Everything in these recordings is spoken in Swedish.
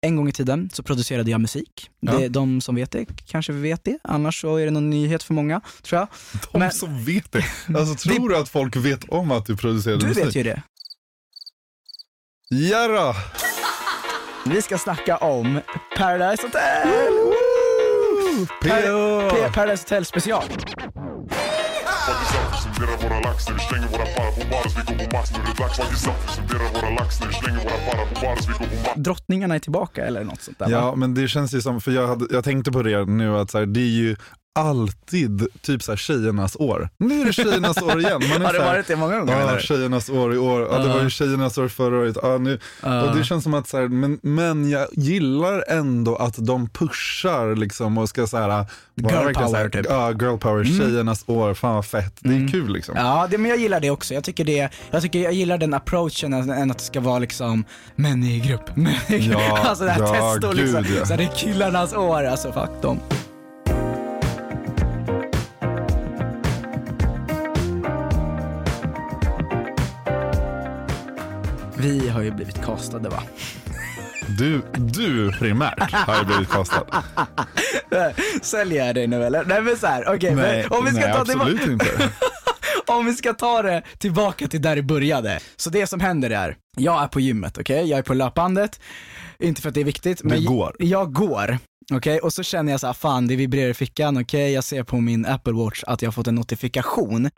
en gång i tiden så producerade jag musik. Ja. Det, de som vet det kanske vet det, annars så är det någon nyhet för många, tror jag. De Men- Mm. som vet det. Alltså tror du att folk vet om att du producerade Du musik? vet ju det. Jadå! Vi ska snacka om Paradise Hotel! P- Par- P- Paradise Hotel special. Fuck yourself, sondera våra lax när du slänger våra para på bars, vi går på max nu är det dags. Fuck yourself, sondera våra lax när du slänger våra para på bars, vi går på max. Drottningarna är tillbaka eller något sånt där va? Ja, men det känns ju som, för jag, hade, jag tänkte på det nu, att så här, det är ju alltid typ så här, tjejernas år. Nu är det tjejernas år igen. Man är Har det så här, varit det många gånger Ja, menar du? tjejernas år i år. Ja, det var Ja. ju tjejernas år förra året. Ja, nu. Ja. Och det känns som att, så här, men, men jag gillar ändå att de pushar liksom och ska så här, bara Girl verkligen så här, power, typ. Mm. Ja, girl power, tjejernas år, fan vad fett. Det är kul liksom. Ja, det, men jag gillar det också. Jag tycker, det, jag tycker jag gillar den approachen än än att det ska vara liksom män i grupp. Män i grupp. Ja, alltså det här ja, testo gud, liksom. ja. Så det är killarnas år, alltså fuck dem. Vi har ju blivit castade va? Du, du primärt har ju blivit kastad. Säljer jag dig nu eller? Nej men såhär, okej. nej, men om vi ska nej ta tillbaka- absolut inte. Om vi ska ta det tillbaka till där det började. Så det som händer är, jag är på gymmet, okej? Jag är på löpbandet. Inte för att det är viktigt, men går. jag går. Okej, och så känner jag så här, fan det vibrerar i fickan, okej, jag ser på min Apple Watch att jag har fått en notifikation.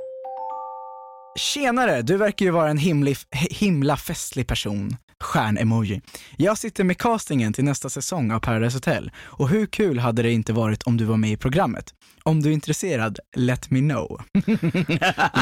Tjenare, du verkar ju vara en himlig, himla festlig person. Stjärn-emoji. Jag sitter med castingen till nästa säsong av Paradise Hotel och hur kul hade det inte varit om du var med i programmet? Om du är intresserad, let me know.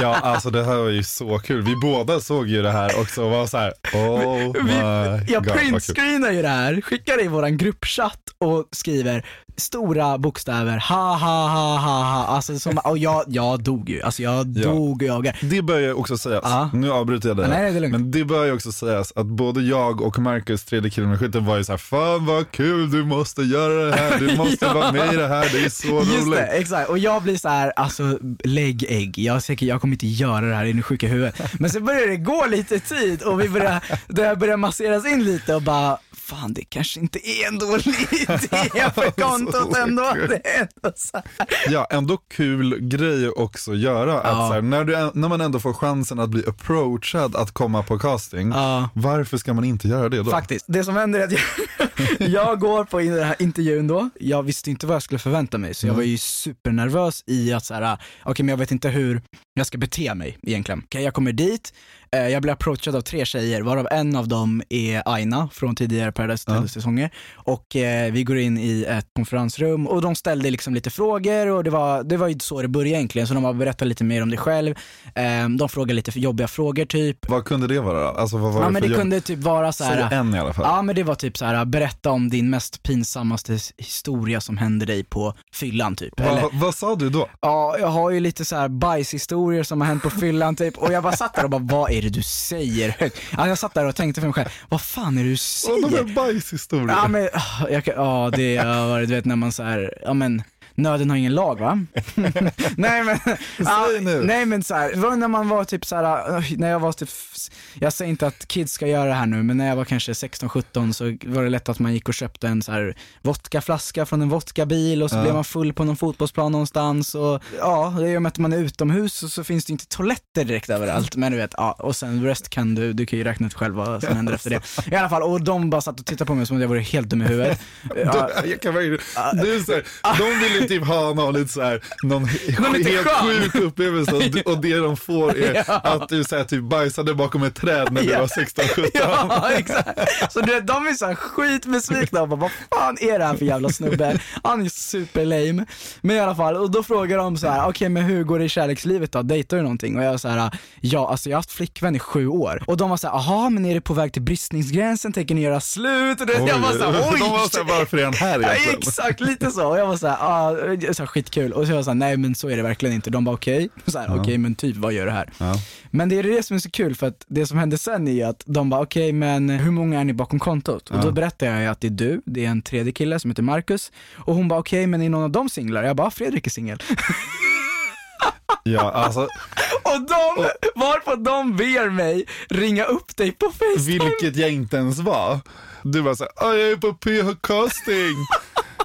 Ja, alltså det här var ju så kul. Vi båda såg ju det här också och var så här, oh Vi, my jag god. vad kul. printscreenar ju det här, skickar det i våran gruppchatt och skriver stora bokstäver, ha ha ha ha ha. Alltså, som, och jag, jag dog ju, alltså jag Ja. dog och jag. Det bör ju också sägas, Ja. nu avbryter jag dig. Nej, nej, det är lugnt. men det bör ju också sägas att både jag och Marcus, tredje killen med skytten, var ju så här, fan vad kul, du måste göra det här, du måste vara med i det här, det är så Just det, roligt. exakt. Och jag blir så här, alltså lägg ägg. Jag är säker, jag kommer inte göra det här, är ni sjuka i huvudet? Men sen börjar det gå lite tid och vi börjar, det här börjar masseras in lite och bara, fan det kanske inte är en dålig idé för kontot ändå. Det är ändå så här. Ja, ändå kul grej också att göra. Att Ja. så här, när, du, när man ändå får chansen att bli approachad att komma på casting, Ja. varför ska man inte göra det då? Faktiskt. Det som händer är att jag, jag går på in- den här intervjun då, jag visste inte vad jag skulle förvänta mig så jag Mm. var ju supernervös i att så här, ah, okej men jag vet inte hur jag ska bete mig egentligen. Okej, jag kommer dit, eh, jag blir approachad av tre tjejer varav en av dem är Aina från tidigare Paradise Hotel-säsonger och eh, vi går in i ett konferensrum och de ställde liksom lite frågor och det var, det var ju så det började egentligen så de bara berättade lite mer om det själv, eh, de frågade lite jobbiga frågor typ. Vad kunde det vara då? Alltså vad var Ja det men för det jobb? kunde typ vara så här. Säg en i alla fall. Ja men det var typ så här: berätta om din mest pinsammaste s- historia som hände dig på fyllan typ. Eller, Va, vad sa du då? ja, jag har ju lite så här bajshistorier som har hänt på fyllan typ. Och jag bara satt där och bara, vad är det du säger? Ja, jag satt där och tänkte för mig själv, vad fan är det du Sådana säger? där bajshistorier. Ja men, ah, jag kan, ja det har varit, du vet när man så här, ja men, nöden har ingen lag va? nej men, ja, Säg nu. nej men så här, det var när man var typ så här, oj, när jag var typ, jag säger inte att kids ska göra det här nu, men när jag var kanske 16-17 så var det lätt att man gick och köpte en så här vodkaflaska från en vodkabil och så Ja. blev man full på någon fotbollsplan någonstans och ja, det är ju med att man är utomhus och så finns det inte toaletter direkt överallt, men du vet, ja, och sen rest kan du, du kan ju räkna ut själv vad som händer efter det. I alla fall, och de bara satt och tittade på mig som att jag vore helt dum i huvudet. Ja, De, jag kan verkligen, det är så här, de vill ju typ ha någon lite så här, någon Någon lite helt skön. sjuk upplevelse och, d- och det de får är att du så här, typ bajsade bakom ett träd när du Ja. var 16-17. Ja, exakt. Så du vet, de är så här skitbesvikna och bara, vad fan är det här för jävla snubbe? Han är super lame. Men i alla fall, och då frågar de så här, okej men hur går det i kärlekslivet då? Dejtar du någonting? Och jag är så här, ja alltså jag har haft flickvän i sju år. Och de var så här, aha men är det på väg till bristningsgränsen? Tänker ni göra slut? Och det, jag var så här, oj! de var så här, varför är han här Ja, egentligen? exakt, lite så. Och jag var såhär, ah, så här, skitkul. Och så var jag såhär, nej men så är det verkligen inte. De bara okej, okay. okej men typ vad gör du här? Ja. Men det är det som är så kul för att det som hände sen är ju att de bara okej men hur många är ni bakom kontot? Och då berättade jag ju att det är du, det är en tredje kille som heter Marcus. Och hon bara okej men är någon av dem singlar? Jag bara "Ah, Fredrik är singel. Ja, alltså, Och de, varpå de ber mig ringa upp dig på Facebook. vilket jag inte ens var. Du bara såhär, "Ah, jag är på PH-casting.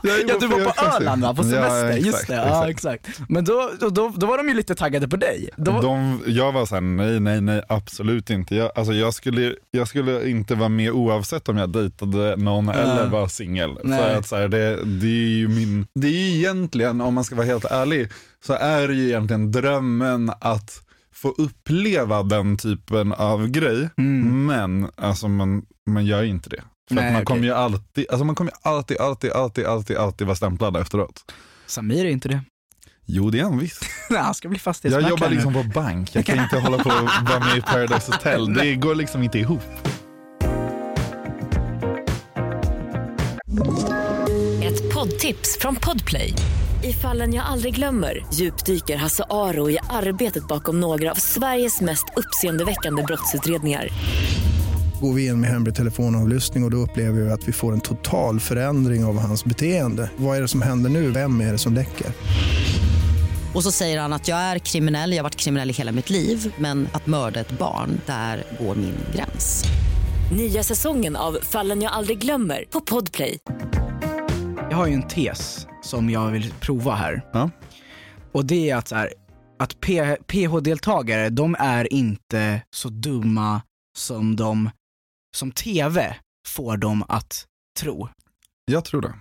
Jag är Ja, du var på PH-casting." Öland va? På Ja, semester, exakt, just det. Ja, exakt. Men då, då, då, då var de ju lite taggade på dig. Då, De, jag var såhär, nej, nej, nej, absolut inte. Jag, alltså, jag, skulle, jag skulle inte vara med oavsett om jag dejtade någon eller var singel. För Nej. att så här, det, det är ju min, det är ju egentligen, om man ska vara helt ärlig, så är det ju egentligen drömmen att få uppleva den typen av grej. Men alltså, man, man gör ju inte det. För Nej, att man okej. kommer ju alltid, alltså man kommer ju alltid, alltid, alltid, alltid, alltid vara stämplad efteråt. Samir är inte det. Jo, det är han visst. Nej, han ska bli fastighetsmäklare Jag jobbar nu. liksom på bank, jag kan inte hålla på och vara med i Paradise Hotel. Det går liksom inte ihop. Ett poddtips från Podplay. I fallen jag aldrig glömmer djupdyker Hasse Aro i arbetet bakom några av Sveriges mest uppseendeväckande brottsutredningar. Går vi in med hemlig telefonavlyssning och, och då upplever vi att vi får en total förändring av hans beteende. Vad är det som händer nu? Vem är det som läcker? Och så säger han att jag är kriminell, jag har varit kriminell i hela mitt liv men att mörda ett barn, där går min gräns. Nya säsongen av Fallen jag aldrig glömmer på Podplay. Jag har ju en tes som jag vill prova här. Ja. Och det är att, så här, att P- PH-deltagare, de är inte så dumma som de, som TV får dem att tro. Jag tror det.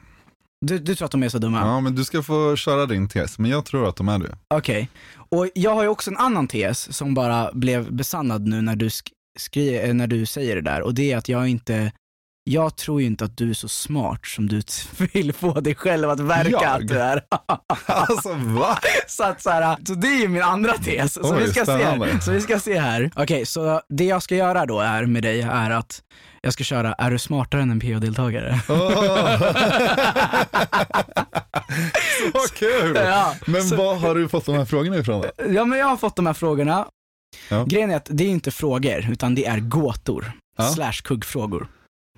Du, du tror att de är så dumma? Ja, men du ska få köra din tes, men jag tror att de är det. Okej. Och jag har ju också en annan tes som bara blev besannad nu när du, sk- skri- eh, när du säger det där. Och det är att jag inte, jag tror ju inte att du är så smart som du t- vill få dig själv att verka Jag? att du är. Alltså va? Så, att, så, här, så det är ju min andra tes. Så, Oj, vi, ska se här. spännande. så vi ska se här. Okej, så det jag ska göra då är med dig är att jag ska köra, är du smartare än en PO-deltagare? Åh. Vad kul! Ja, Men så- var har du fått de här frågorna ifrån då? Ja men jag har fått de här frågorna. Ja. Grejen är att det är ju inte frågor, utan det är gåtor. Ja. Slash kuggfrågor.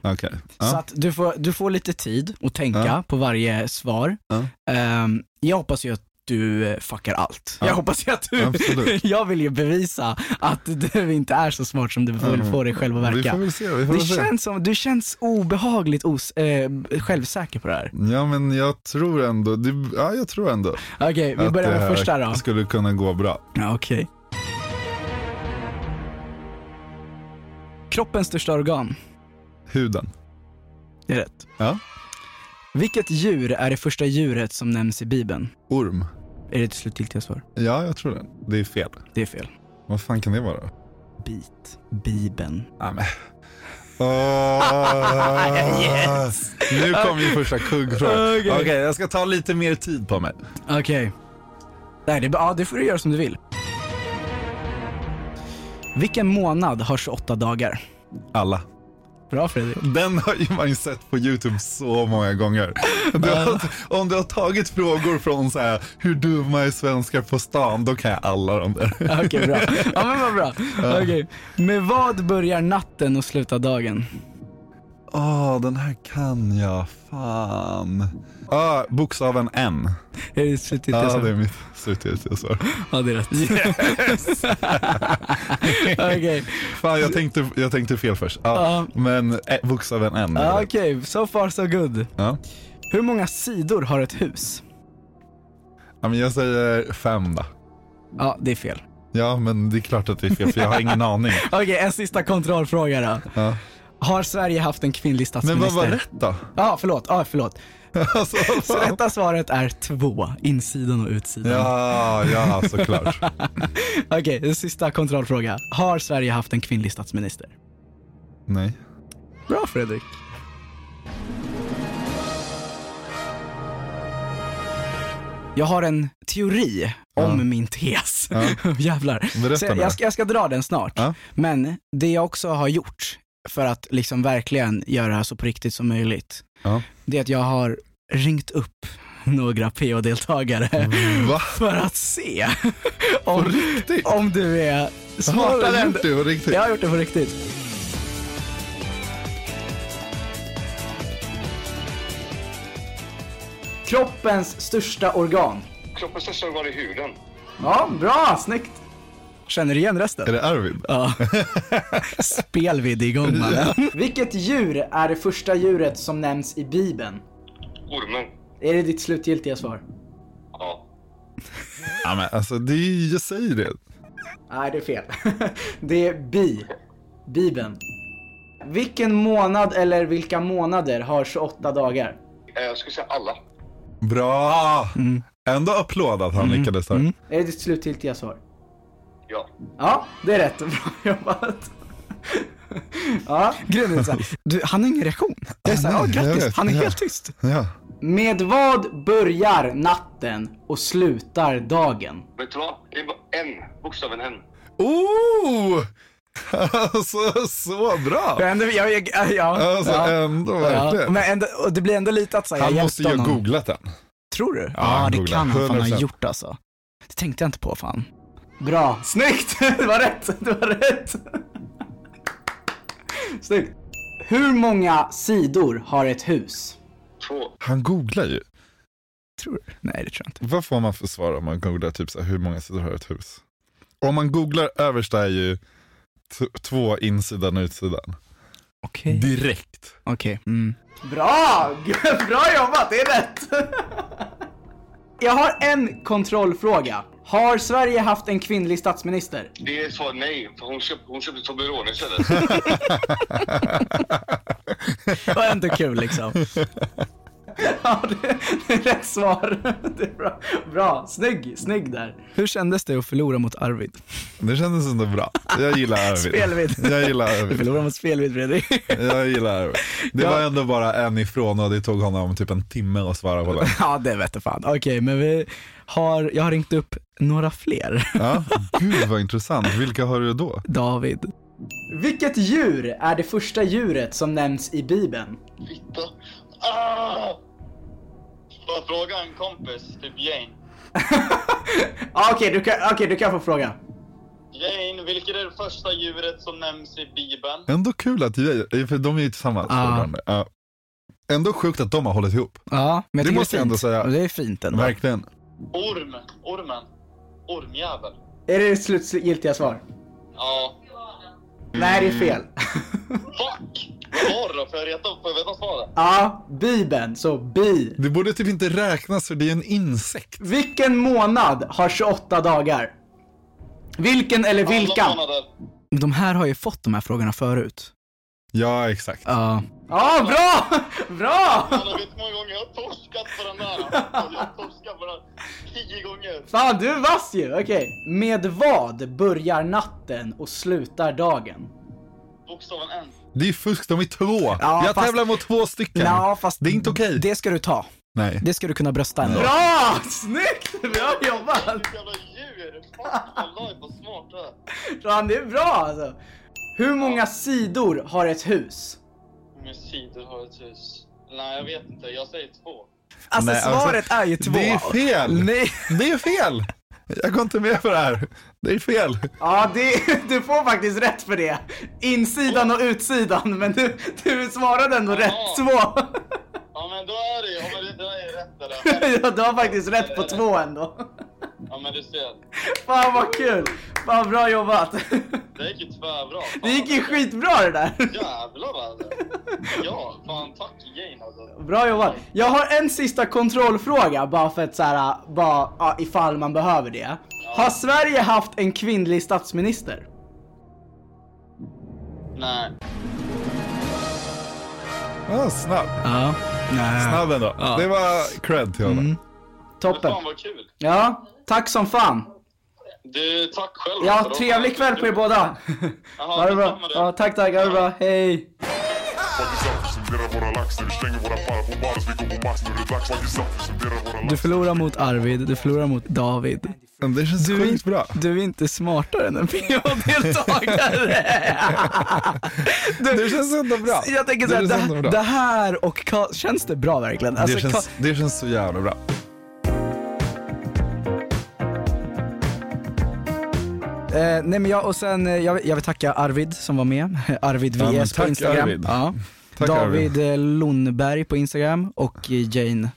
Okej. Så Ja. att du får, du får lite tid att tänka Ja. på varje svar. Ja. Ehm, jag hoppas ju att du eh, fuckar allt. Ja. Jag hoppas ju att du, Absolut. jag vill ju bevisa att du inte är så smart som du vill Mm. få dig själv att Vi får verka. väl se. Vi får Det väl se. känns som, du känns obehagligt os, eh, självsäker på det här. Ja, men jag tror ändå, det, ja, jag tror ändå Okej, vi att börjar det med här första då. skulle kunna gå bra. Ja, Okej. Kroppens största organ, Huden. det är rätt. Ja. Vilket djur är det första djuret som nämns i Bibeln? Orm. Är det ett slutgiltiga svar? Ja, jag tror det. Det är fel. Det är fel. Vad fan kan det vara? Bit. Bibeln. Åh. Yes. Ah. Nu kom ju första kuggfrågan. Okej. Okej, jag ska ta lite mer tid på mig. Okej. Nej, det, ja, det får du göra som du vill. Vilken månad har 28 dagar? Alla. Bra Fredrik. Den har ju man ju sett på YouTube så många gånger. Du har, om du har tagit frågor från så här, hur dumma är svenskar på stan, då kan jag alla de där. Okej, bra. Ja, men vad bra. Okej. Med vad börjar natten och slutar dagen? Åh, den här kan jag. Fan. Ah, bokstaven N. Är det slutgiltiga Ja, det svaret? är mitt slutgiltiga svar. Ja, det är rätt. Okej, Fan, jag tänkte, jag tänkte fel först. Ja. Ja, men eh, bokstaven N. är det. Okej, so far so good. Ja. Hur många sidor har ett hus? Ja, men jag säger fem då. Ja, det är fel. Ja, men det är klart att det är fel, för jag har ingen aning. Okej, en sista kontrollfråga då. Ja. Har Sverige haft en kvinnlig Men statsminister? vad var rätt då? Ja, förlåt. Ja, förlåt. Alltså, Så rätta svaret är två, insidan och utsidan. ja, ja, såklart. Okej, en sista kontrollfråga. Har Sverige haft en kvinnlig statsminister? Nej. Bra Fredrik. Jag har en teori om min tes. Jävlar. Berätta Så jag, nu. jag, ska, jag ska dra den snart. Ja. Men det jag också har gjort för att liksom verkligen göra det här så på riktigt som möjligt, Ja. det är att jag har ringt upp några PO-deltagare Va? för att se om, Mm. riktigt? om du är Har smartare du än gjort det på riktigt? Jag har gjort det på riktigt. Kroppens största organ. Kroppens största organ är huden. Ja, bra, snyggt. Känner du igen resten? Är det Arvid? Ja. Spelvidd igång mannen. Vilket djur är det första djuret som nämns i Bibeln? Ormen. Är det ditt slutgiltiga svar? Ja. Ja, men alltså, det är ju, jag säger det. Nej, det är fel. det är bi. Bibeln. Vilken månad eller vilka månader har 28 dagar? Eh, Jag skulle säga alla. Bra! Mm. Ändå applåd att han lyckades där. Är det ditt slutgiltiga svar? Ja. Ja, det är rätt. Bra jobbat. Ja. Grejen är så här, du, han har ingen reaktion. Det är så här, ja, Ah, nej, jag grattis, vet. han är Ja. helt tyst. Ja. Med vad börjar natten och slutar dagen? Vet du vad? Det är bara en. Bokstaven N. Oh! Alltså, så bra! Ändå, jag, jag, ja, Alltså, ja. ändå Ja, verkligen. men ändå, och det blir ändå lite att säga Han måste ju ha googlat den. Tror du? Ja, Ja, han det googlar. kan han fan ha 100%. gjort alltså. Det tänkte jag inte på fan. Bra. Snyggt! Det var rätt, det var rätt. Snyggt. Hur många sidor har ett hus? Två. Han googlar ju. Tror du? Nej, det tror jag inte. Vad får man för svar om man googlar typ så här, hur många sidor har ett hus? Om man googlar överst är ju t- två insidan och utsidan. Okej. Direkt. Okej. Mm. Bra! Bra jobbat, det är rätt! Jag har en kontrollfråga. Har Sverige haft en kvinnlig statsminister? Det är svar nej. För hon, köp, hon köpte Toblerone istället. Det var ändå kul liksom. Ja, det, det är rätt svar. Det är bra. bra. Snygg, snygg där. Hur kändes det att förlora mot Arvid? Det kändes ändå bra. Jag gillar Arvid. Spelvidd. Jag gillar Arvid. Förlora mot Spelvidd, Fredrik. Jag gillar Arvid. Det Ja. var ändå bara en ifrån och det tog honom typ en timme att svara på den. Ja, det vete fan. Okej, men vi har, jag har ringt upp några fler. Ja. Gud vad intressant. Vilka har du då? David. Vilket djur är det första djuret som nämns i Bibeln? Fitta. Ah! Får jag fråga en kompis? Typ Jane. Ah, Okej, du, kan- okej, du kan få fråga. Jane, vilket är det första djuret som nämns i Bibeln? Ändå kul att vi, för de är ju tillsammans Ja. fortfarande. Ja. Ändå sjukt att de har hållit ihop. Ja, men jag Det tycker måste är jag ändå fint. säga. Det är fint ändå. Verkligen. Orm. Ormen. Ormjävel. Är det ditt slutgiltiga svar? Ja. Nej, det är fel. Fuck! Vad var det då? Får jag reta- får jag veta svaret? Ja, Bibeln, så bi. Det borde typ inte räknas för det är en insekt. Vilken månad har 28 dagar? Vilken eller vilka? Alla månader. De här har ju fått de här frågorna förut. Ja, exakt. Ja. Ja, bra! Bra! Alla vet hur många gånger jag har torskat på den där. Jag har torskat på den tio gånger. Fan, du är vass ju! Okej. Med vad börjar natten och slutar dagen? Bokstaven N. Det är fusk, de är två. Ja, jag fast- tävlar mot två stycken. Ja, fast Det är inte okej. Det ska du ta. Nej. Det ska du kunna brösta ändå. Bra! Snyggt! Bra jobbat! Vilket jävla djur! Fuck wallahi vad smart du är. Fan, det är bra alltså. Hur många sidor har ett hus? Hur många sidor har ett hus? Nej jag vet inte, jag säger två. Alltså Nej, alltså, svaret är ju två. Det är fel. Nej. Det är fel. Jag går inte med på det här. Det är fel. Ja, det, du får faktiskt rätt för det. Insidan och utsidan, men du, du svarade ändå rätt två. Ja men då är det ju, ja men det där är rätt det där. Ja, du har faktiskt rätt på två ändå. Ja men du ser. Fan vad kul! Fan bra jobbat! Det gick ju tvärbra. Fan, Det gick ju skitbra det där! Jävlar alltså. Ja, fan tack Jane alltså. Bra jobbat! Jag har en sista kontrollfråga bara för att såhär, bara ja, ifall man behöver det. Har Sverige haft en kvinnlig statsminister? Nej. Ah, snabb. Ja. Nej. Snabb ändå. Det var cred till honom. Men Toppen. fan vad kul. Ja, tack som fan. Du, tack själv. Ja, alltså. Det var trevlig fan kväll på er båda. Jaha, Ha det bra. detsamma, du. Ja, tack, tack. Ha det bra. Hej. Du förlorar mot Arvid, du förlorar mot David. Men Det känns Mm. Du sjukt bra. är, du är inte smartare än en PH-deltagare. Det känns ändå bra. Jag tänker det, känns såhär, ändå det, bra. det här och Ka- känns det bra verkligen? Alltså, det, Ka- känns, det känns så jävla bra. Eh, nej men jag, och sen, eh, jag, jag vill tacka Arvid som var med. Arvid Ja, men VS på tack, Instagram. Arvid. Ja. Tack, David eh, Lundberg på Instagram och eh, Jane,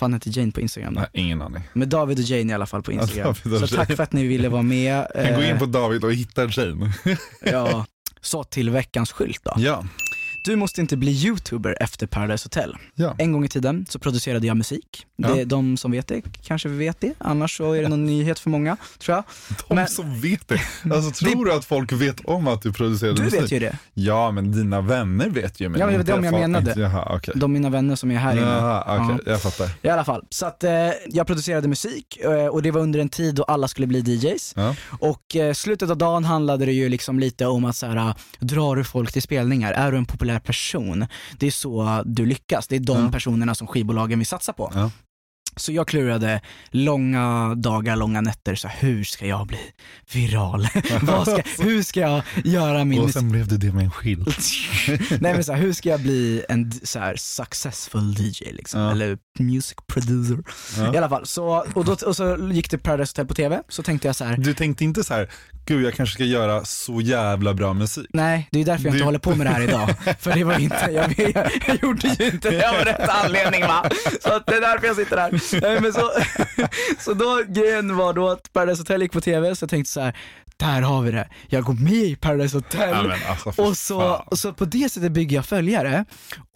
fan heter Jane på Instagram då? Nej, ingen aning. Men David och Jane i alla fall på Ja, Instagram. David och så Jane. tack för att ni ville vara med. Kan gå in Eh, på David och hitta Jane. ja. Så till veckans skylt då. ja. Du måste inte bli youtuber efter Paradise Hotel. ja. En gång i tiden så producerade jag musik. Det, Ja. de som vet det kanske vet det, annars så är det någon nyhet för många, tror jag. De Men- som vet det. Alltså, tror du att folk vet om att du producerar Du musik? vet ju det. Ja, men dina vänner vet ju. Men Ja, men det var inte dem jag folk- menade. inte- Jaha, okej. De mina vänner som är här inne. Jaha, okej. Ja. Jag fattar. I alla fall, så att eh, jag producerade musik eh, och det var under en tid då alla skulle bli DJs. Ja. Och eh, slutet av dagen handlade det ju liksom lite om att så här, drar du folk till spelningar? Är du en populär person? Det är så du lyckas. Det är de Ja. personerna som skivbolagen vill satsa på. Ja. Så jag klurade långa dagar, långa nätter, så här, hur ska jag bli viral? Vad ska, hur ska jag göra min Och musik? sen blev det det med en skylt. Nej men så här, hur ska jag bli en d- så här, successful DJ liksom, Ja. eller music producer. Ja. I alla fall, så, och, då, och så gick det Paradise Hotel på TV, så tänkte jag så här. Du tänkte inte så här, gud jag kanske ska göra så jävla bra musik. Nej, det är därför jag inte Du- håller på med det här idag. För det var inte, jag, jag, jag gjorde ju inte det av rätt anledning va. Så att det är därför jag sitter här. Nej, Men så, så då, grejen var då att Paradise Hotel gick på TV, så jag tänkte så här, där har vi det. Jag går med i Paradise Hotel. Ja, men alltså, för Och så, fan. och så på det sättet bygger jag följare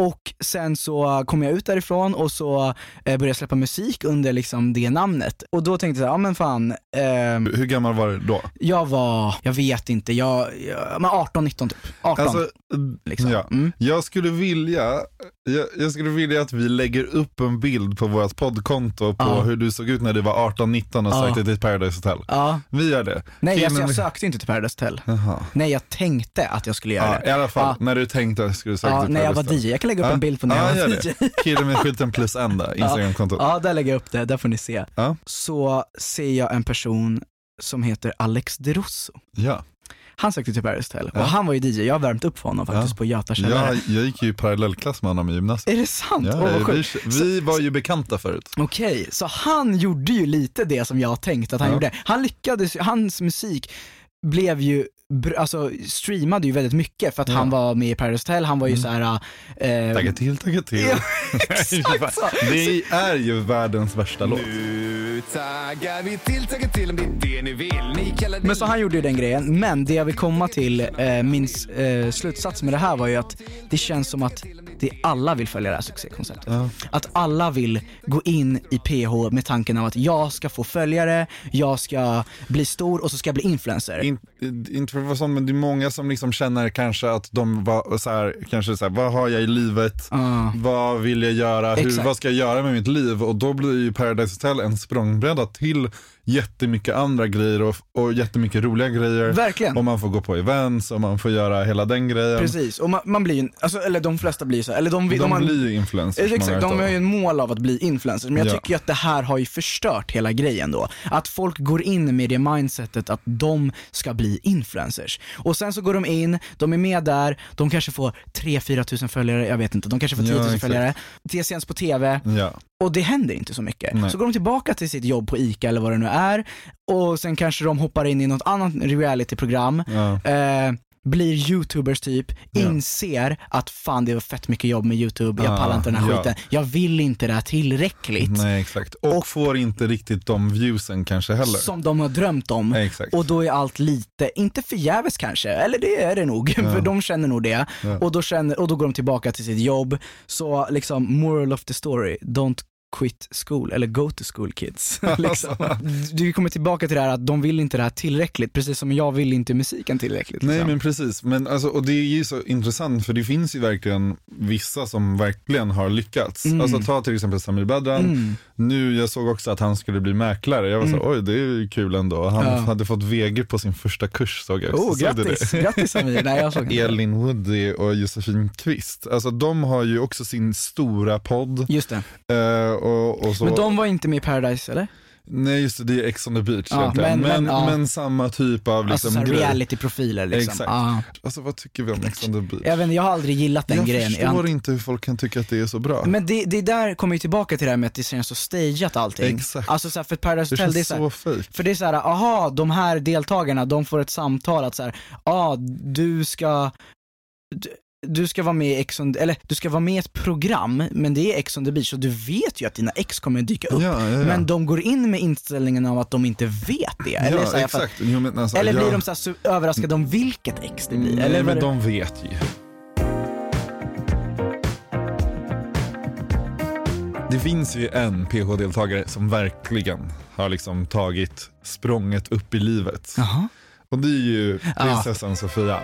och sen så kom jag ut därifrån och så eh, började jag släppa musik under liksom det namnet. Och då tänkte jag så här, ja men fan, ehm, Hur gammal var du då? jag var, jag vet inte, jag, jag men 18-19 typ. 18. Alltså, liksom. ja. Mm. jag, skulle vilja, jag, jag skulle vilja att vi lägger upp en bild på vårt poddkonto på Ja. hur du såg ut när du var 18-19 och Ja. sökte till Paradise Hotel. ja. Vi gör det. Nej alltså, jag Filmen- sökte inte till Paradise Hotel. Jaha. Nej jag tänkte att jag skulle göra Ja, det. I alla fall, Ja. när du tänkte att du skulle söka Ja, till när jag Paradise var Hotel. DJ, jag kan lägga upp Ja. en bild på när jag Ja, var gör det. DJ. Killen med skylten plus en där, Instagramkontot. Ja, där lägger jag upp det, där får ni se. Ja. Så ser jag en person som heter Alex Derusso. Ja. Han sökte till Paradise Hotel Ja. och han var ju DJ, jag har värmt upp för honom faktiskt Ja. på Göta Jag, källare. jag gick ju i parallellklass med honom i gymnasiet. Är det sant? Åh Ja, vad vi, sjukt. vi var ju bekanta förut. Okej, så han gjorde ju lite det som jag tänkt att han Ja. gjorde. Han lyckades ju- hans musik blev ju, br- alltså streamade ju väldigt mycket för att Ja. Mm. han var med i Paradise Hotel, han var ju såhär, eh, Tagga till, tagga till. Ja, exakt så. Det är ju världens värsta låt. Nu taggar vi till, taggar till om det är det ni vill. Ni kallar det men så han gjorde ju den grejen, men det jag vill komma till, eh, min s- eh, slutsats med det här var ju att det känns som att det alla vill följa det här succékonceptet. Att alla vill gå in i PH med tanken av att jag ska få följare, jag ska bli stor och så ska jag bli influencer. In, inte för att vara sån, men det är många som liksom känner kanske att de var så här, kanske så här, vad har jag i livet? Ah. Vad vill jag göra? Hur, Exakt. vad ska jag göra med mitt liv? Och då blir ju Paradise Hotel en språngbräda till jättemycket andra grejer och, och jättemycket roliga grejer. Verkligen. Och man får gå på events och man får göra hela den grejen. Precis, och man, man blir ju, en- alltså, eller de flesta blir så, här, eller de, De, vill- de har, Eh, blir ju influencers. Exakt, många de utav har ju dem. en mål av att bli influencers, men jag Ja. tycker ju att det här har ju förstört hela grejen då. Att folk går in med det mindsetet att de ska bli influencers. Och sen så går de in, de är med där, de kanske får 3-4 tusen följare, jag vet inte, de kanske får Ja, 10 000 exakt. följare. Det sänds på TV, Ja. och det händer inte så mycket. Nej. Så går de tillbaka till sitt jobb på ICA eller vad det nu är och sen kanske de hoppar in i något annat realityprogram, Ja. eh, blir youtubers typ, inser att fan det var fett mycket jobb med youtube, jag Ja, pallar inte den här Ah, ja. skiten, jag vill inte det här tillräckligt. Nej, exakt. Och, Och- får inte riktigt de viewsen kanske heller. Eh, Som de har drömt om. Nej, exakt. Och då är allt lite, inte förgäves kanske, eller det är det nog, för de känner nog det. Och, då känner, och då går de tillbaka till sitt jobb. Så liksom, moral of the story, don't quit school, eller go to school kids. liksom. Du kommer tillbaka till det här att de vill inte det här tillräckligt, precis som jag vill inte musiken tillräckligt. Nej liksom. men precis, men alltså, och det är ju så intressant för det finns ju verkligen vissa som verkligen har lyckats. Mm. Alltså ta till exempel Samir Badran, nu jag såg också att han skulle bli mäklare, jag var Mm. så oj det är ju kul ändå. Han hade fått VG på sin första kurs såg jag också. Oh, Såg du grattis, det? grattis Samir. Nej jag såg inte. Elin Woody och Josefin Kvist, alltså de har ju också sin stora podd. Just det. eh, och, och så. Men de var inte med i Paradise eller? Nej just det, det är Ex on the beach Ja, men- egentligen. Men, men, men, ja. samma typ av liksom, alltså såhär grej. reality-profiler liksom. Exakt. Ja. Alltså vad tycker vi om Ex on the beach? Jag, vet, inte, jag har aldrig gillat den jag grejen. förstår inte hur folk kan tycka att det är så bra. Men det, det där kommer ju tillbaka till det här med att det känns så stageat allting. Exakt. Alltså så här, för Paradise det Hotel, känns det är så här, så fejk. för det är så här, aha, de här deltagarna, de får ett samtal att så här, ja, ah, du ska, du ska vara med i Ex on, eller du ska vara med i ett program, men det är Ex on the beach, så du vet ju att dina ex kommer dyka upp. Ja, ja, ja. Men de går in med inställningen av att de inte vet det. Eller, ja, så här, för att- exakt. Jo, men alltså, eller ja. blir de så här, su- överraskade om vilket ex det blir? Nej, eller vad men det- de vet ju. Det finns ju en PH-deltagare som verkligen har liksom tagit språnget upp i livet. Jaha. Och det är ju prinsessan Sofia.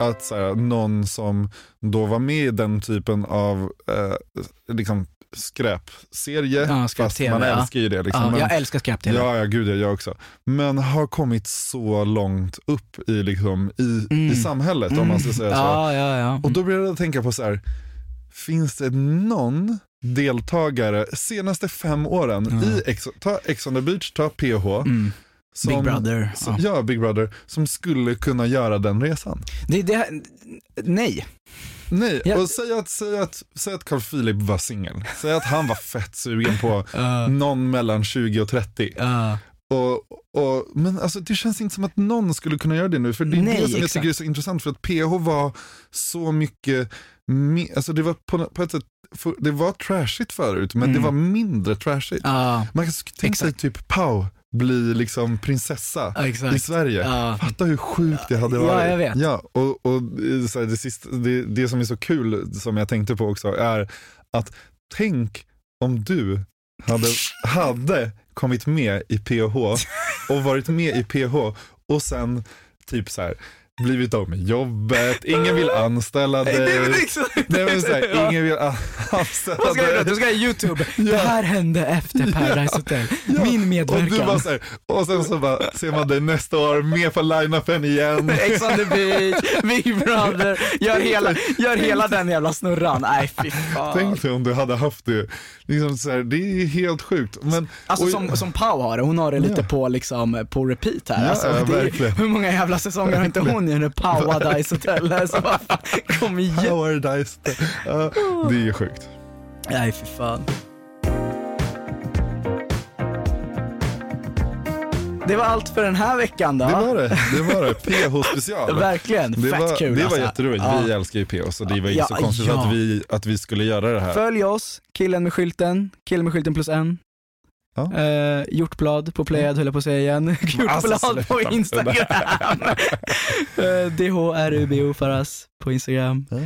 Att så här, någon som då var med i den typen av eh, liksom, skräpserie, Ja, fast skräp-tv, man ja. älskar ju det. Liksom. Ja, men, jag älskar skräp-tv. Ja, ja, gud ja, jag också. Men har kommit så långt upp i, liksom, i, i samhället om man ska säga så. Mm. ja, ja, ja. Och då började jag tänka på så här, finns det någon deltagare senaste fem åren i Ex, ta Ex on the beach, ta PH. som- Mm. Big Brother, Som, ja. ja. Big Brother, som skulle kunna göra den resan. Det, det, nej. Nej, Ja. och säg att, säg, att, säg att Carl Philip var singel. Säg att han var fett sugen på någon mellan 20 och 30. Ja. Och, och, men alltså, det känns inte som att någon skulle kunna göra det nu, för det är Nej, det som jag exakt. tycker är så intressant, för att PH var så mycket, mi- alltså det var på, på ett sätt, för, det var trashigt förut, men det var mindre trashigt. Mm. Ja. Man kan s- tänka sig typ Pau bli liksom prinsessa Ja, exakt. i Sverige. Ja. Fatta hur sjukt det hade Ja, varit. jag vet. Ja, och, och eh, så här, det, sista, det, det som är så kul, som jag tänkte på också, är att tänk om du hade, hade kommit med i PH och varit med i PH och sen typ så här blivit av med jobbet, ingen vill anställa dig. Nej, men exakt. Nej, men så här, Ja. ingen vill an- anställa Vad ska jag dig. göra? Då ska jag youtube. Det här hände efter Paradise Hotel. Ja, Min Och, du medverkan. bara så här, och sen så bara, ser man dig nästa år med på line-upen igen. Ex on the beach, Big Brother, gör hela, gör hela den jävla snurran. Nej fy fan. Tänk dig om du hade haft det. Liksom så här, det är helt sjukt. Men, Alltså och- som, som Pau har det, hon har det lite på, liksom, på repeat här. Ja, alltså, ja, det är, verkligen. hur många jävla säsonger har inte hon i nu Paradise Hotel? Alltså, vad fan, kom igen. Paradise. Ja, det är ju sjukt. Nej fy fan. Det var allt för den här veckan då. Det var det. Det var det. PH-special. Verkligen, Det fett var, kul det var alltså. jätteroligt. Ja. Vi älskar ju PH så det var ju Ja, så konstigt ja. att, vi, att vi skulle göra det här. Följ oss, killen med skylten, killen med skylten plus en. Ja. Mm. Alltså, Eh, hjortblad på Playad höll jag på att säga igen. Hjortblad på sluta. Instagram. eh, DHRUBO Faras på Instagram. Ja.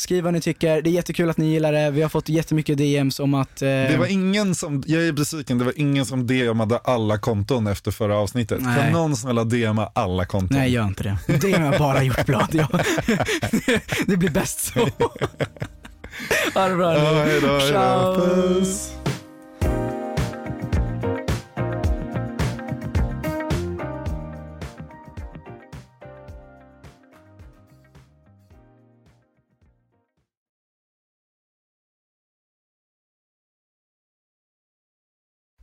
Skriv vad ni tycker, det är jättekul att ni gillar det. Vi har fått jättemycket DMs om att... eh, Det var ingen som, jag är besviken, det var ingen som DMade alla konton efter förra avsnittet. Nej. Kan någon snälla DMa alla konton? Nej, gör inte det. Det är jag bara hjortblad. Ja. det blir bäst så. ha det bra Ja, nu. hej då, hej då. Puss.